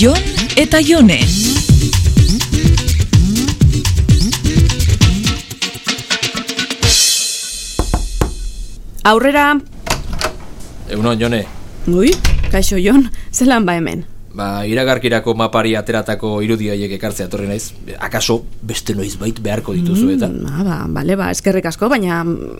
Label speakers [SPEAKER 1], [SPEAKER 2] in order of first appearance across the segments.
[SPEAKER 1] Jon eta Jone.
[SPEAKER 2] Aurrera,
[SPEAKER 3] Egunon, jone,
[SPEAKER 2] ui, kaixo Jon, zelan ba hemen.
[SPEAKER 3] ba, iragarkirako mapari ateratako irudioiek ekartzea etorri naiz. Akaso, beste noizbait beharko dituzu eta...
[SPEAKER 2] Ah, ba, bale, ba, eskerrik asko, baina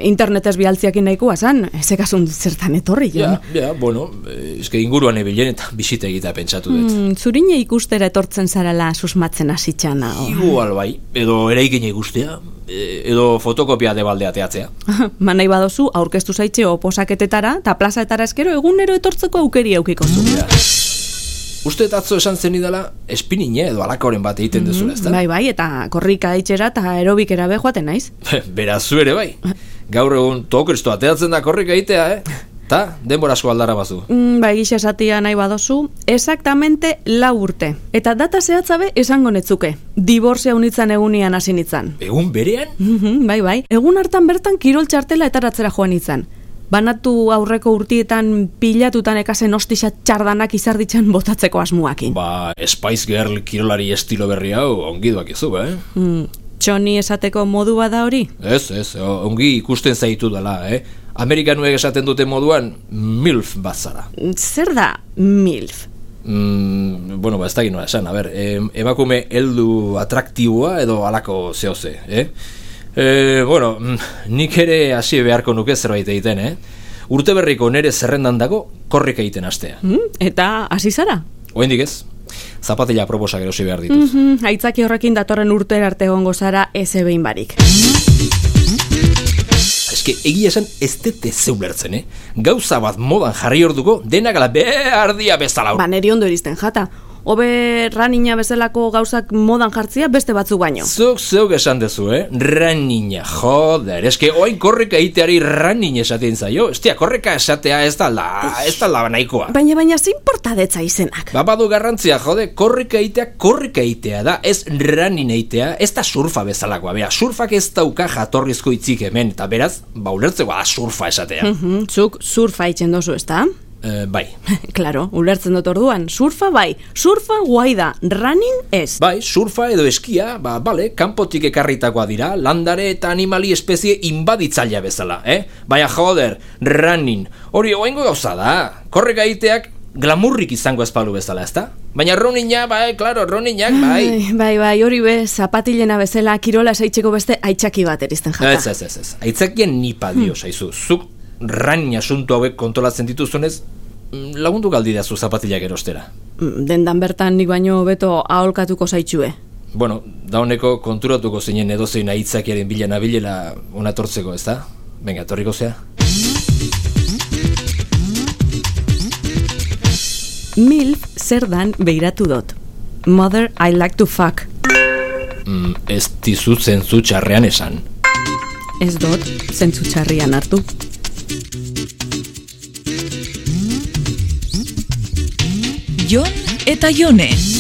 [SPEAKER 2] internetez bialtziakin nahikoa zan, ezekasun zertan etorri,
[SPEAKER 3] Ja,
[SPEAKER 2] Jon.
[SPEAKER 3] ja, bueno, eh, eske inguruan ebilen eta bisita egita pentsatu dut.
[SPEAKER 2] Mm, zurine ikustera etortzen zarala susmatzen hasitxana. Oh.
[SPEAKER 3] Igual bai, edo eraikina ikustea, e, edo fotokopia debaldea teatzea.
[SPEAKER 2] Manai badozu, aurkeztu zaitxe oposaketetara, eta plazaetara eskero egunero etortzeko aukeri eukiko zu.
[SPEAKER 3] Ja. Uste atzo esan zen idala, espinine edo alakoren bat egiten duzula, ezta?
[SPEAKER 2] Bai, bai, eta korrika itxera eta aerobikera bejoaten naiz.
[SPEAKER 3] Beraz zu ere bai. Gaur egun tokristo ateatzen da korrika egitea, eh? Ta, denbora asko aldara bazu.
[SPEAKER 2] Mm, ba, gisa esatia nahi badozu, exactamente lau urte. Eta data zehatzabe esango netzuke. Diborzia unitzan egunian hasi nitzan.
[SPEAKER 3] Egun berean?
[SPEAKER 2] Mhm, bai, bai. Egun hartan bertan kirol txartela etaratzera joan izan. Banatu aurreko urtietan pilatutan ekasen ostisa txardanak izarditzen botatzeko asmuakin.
[SPEAKER 3] Ba, Spice Girl kirolari estilo berri hau ongi duakizu, eh?
[SPEAKER 2] Mm, txoni esateko modua da hori?
[SPEAKER 3] Ez, ez, o- ongi ikusten zaitu dela, eh? Amerikanuek esaten duten moduan, MILF bazara.
[SPEAKER 2] Zer da MILF?
[SPEAKER 3] Mm, bueno, ba, ez da ginoa esan, a ber, em, emakume heldu atraktiboa edo halako zehoze, eh? E, bueno, mm, nik ere hasi beharko nuke zerbait egiten, eh? Urte berriko nere zerrendan dago, korrika egiten astea.
[SPEAKER 2] Mm, eta hasi zara?
[SPEAKER 3] Oendik ez? Zapatila proposak erosi behar dituz.
[SPEAKER 2] Mhm, Aitzaki horrekin datorren urter arte egongo zara ez ebein barik.
[SPEAKER 3] Eske egia esan ez dut ez ulertzen, eh? Gauza bat modan jarri orduko, denak ala behar dia bezala.
[SPEAKER 2] Ba, neri ondo iristen jata. Hobe ranina bezalako gauzak modan jartzia beste batzuk baino.
[SPEAKER 3] Zuk zeuk esan dezu, eh? Ranina, joder, eske oain korrika egiteari ranin esaten zaio. Estia, korrika esatea ez da la, ez da la nahikoa.
[SPEAKER 2] Baina, baina, zein portadetza izenak?
[SPEAKER 3] Ba, badu garrantzia, jode, korrika egitea, korrika egitea da, ez ranin egitea, ez da surfa bezalakoa, bea, surfak ez dauka jatorrizko hitzik hemen, eta beraz, ba, ulertzeko da surfa esatea.
[SPEAKER 2] Mhm, Zuk surfa itzen dozu, ezta?
[SPEAKER 3] Eh, bai.
[SPEAKER 2] Claro, ulertzen dut orduan, surfa bai, surfa guai da, running ez.
[SPEAKER 3] Bai, surfa edo eskia, ba, bale, kanpotik ekarritakoa dira, landare eta animali espezie inbaditzailea bezala, eh? Baina joder, running, hori oengo gauza da, korreka egiteak glamurrik izango espalu bezala, ezta? Baina runninga, bai, klaro, runningaak, bai.
[SPEAKER 2] Ai, bai, bai, hori be, zapatilena bezala kirola saitzeko beste aitzaki bat erizten jata.
[SPEAKER 3] Ez, ez, ez, ez, aitzakien nipa dio, saizu, zuk running asunto hauek kontolatzen dituzunez, mm, lagundu galdidazu zapatilak erostera.
[SPEAKER 2] Mm, Dendan bertan nik baino beto aholkatuko zaitzue.
[SPEAKER 3] Bueno, dauneko konturatuko zinen edozein aitzakiaren bila nabilela onatortzeko, ez da? Venga, torriko zea.
[SPEAKER 2] Milf zer dan behiratu dot. Mother, I like to fuck.
[SPEAKER 3] Mm, ez dizut zentzu txarrean esan.
[SPEAKER 2] Ez dot, zentzu txarrian hartu.
[SPEAKER 1] Jon eta Jone.